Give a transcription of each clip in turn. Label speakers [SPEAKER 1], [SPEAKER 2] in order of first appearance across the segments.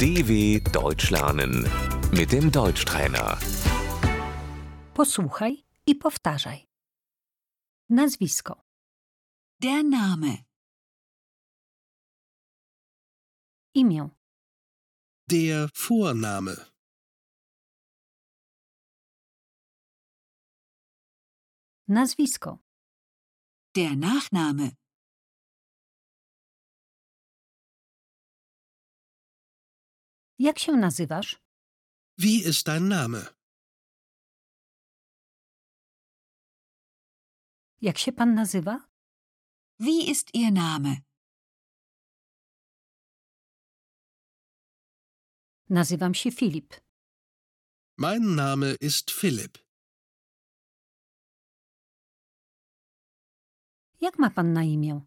[SPEAKER 1] DW Deutsch lernen mit dem Deutschtrainer.
[SPEAKER 2] Posłuchaj i powtarzaj. Nazwisko.
[SPEAKER 3] Der Name.
[SPEAKER 2] Imię.
[SPEAKER 4] Der Vorname.
[SPEAKER 2] Nazwisko.
[SPEAKER 3] Der Nachname.
[SPEAKER 2] Jak się nazywasz?
[SPEAKER 4] Wie ist dein Name?
[SPEAKER 2] Jak się pan nazywa?
[SPEAKER 3] Wie ist Ihr Name?
[SPEAKER 2] Nazywam się Filip.
[SPEAKER 4] Mein Name ist Philipp.
[SPEAKER 2] Jak ma pan na imię?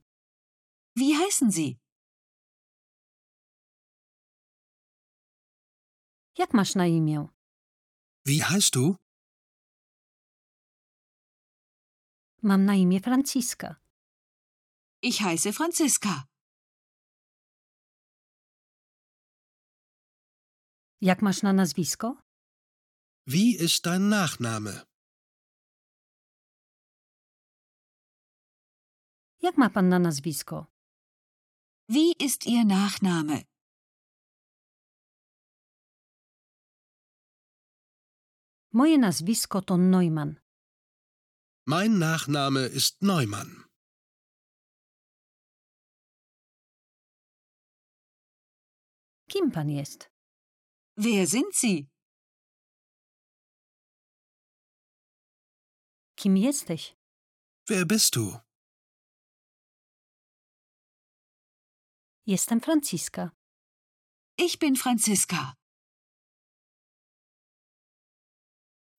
[SPEAKER 3] Wie heißen Sie?
[SPEAKER 2] Jak masz na imię?
[SPEAKER 4] Wie heißt du?
[SPEAKER 2] Mam na imię Franciska.
[SPEAKER 3] Ich heiße Franziska.
[SPEAKER 2] Jak masz na nazwisko?
[SPEAKER 4] Wie ist dein Nachname?
[SPEAKER 2] Jak ma pan na nazwisko?
[SPEAKER 3] Wie ist Ihr Nachname?
[SPEAKER 2] Moje nazwisko to Neumann.
[SPEAKER 4] Mein Nachname ist Neumann.
[SPEAKER 2] Kim pan jest?
[SPEAKER 3] Wer sind Sie?
[SPEAKER 2] Kim jesteś?
[SPEAKER 4] Wer bist du?
[SPEAKER 2] Jestem Franciska.
[SPEAKER 3] Ich bin Franziska.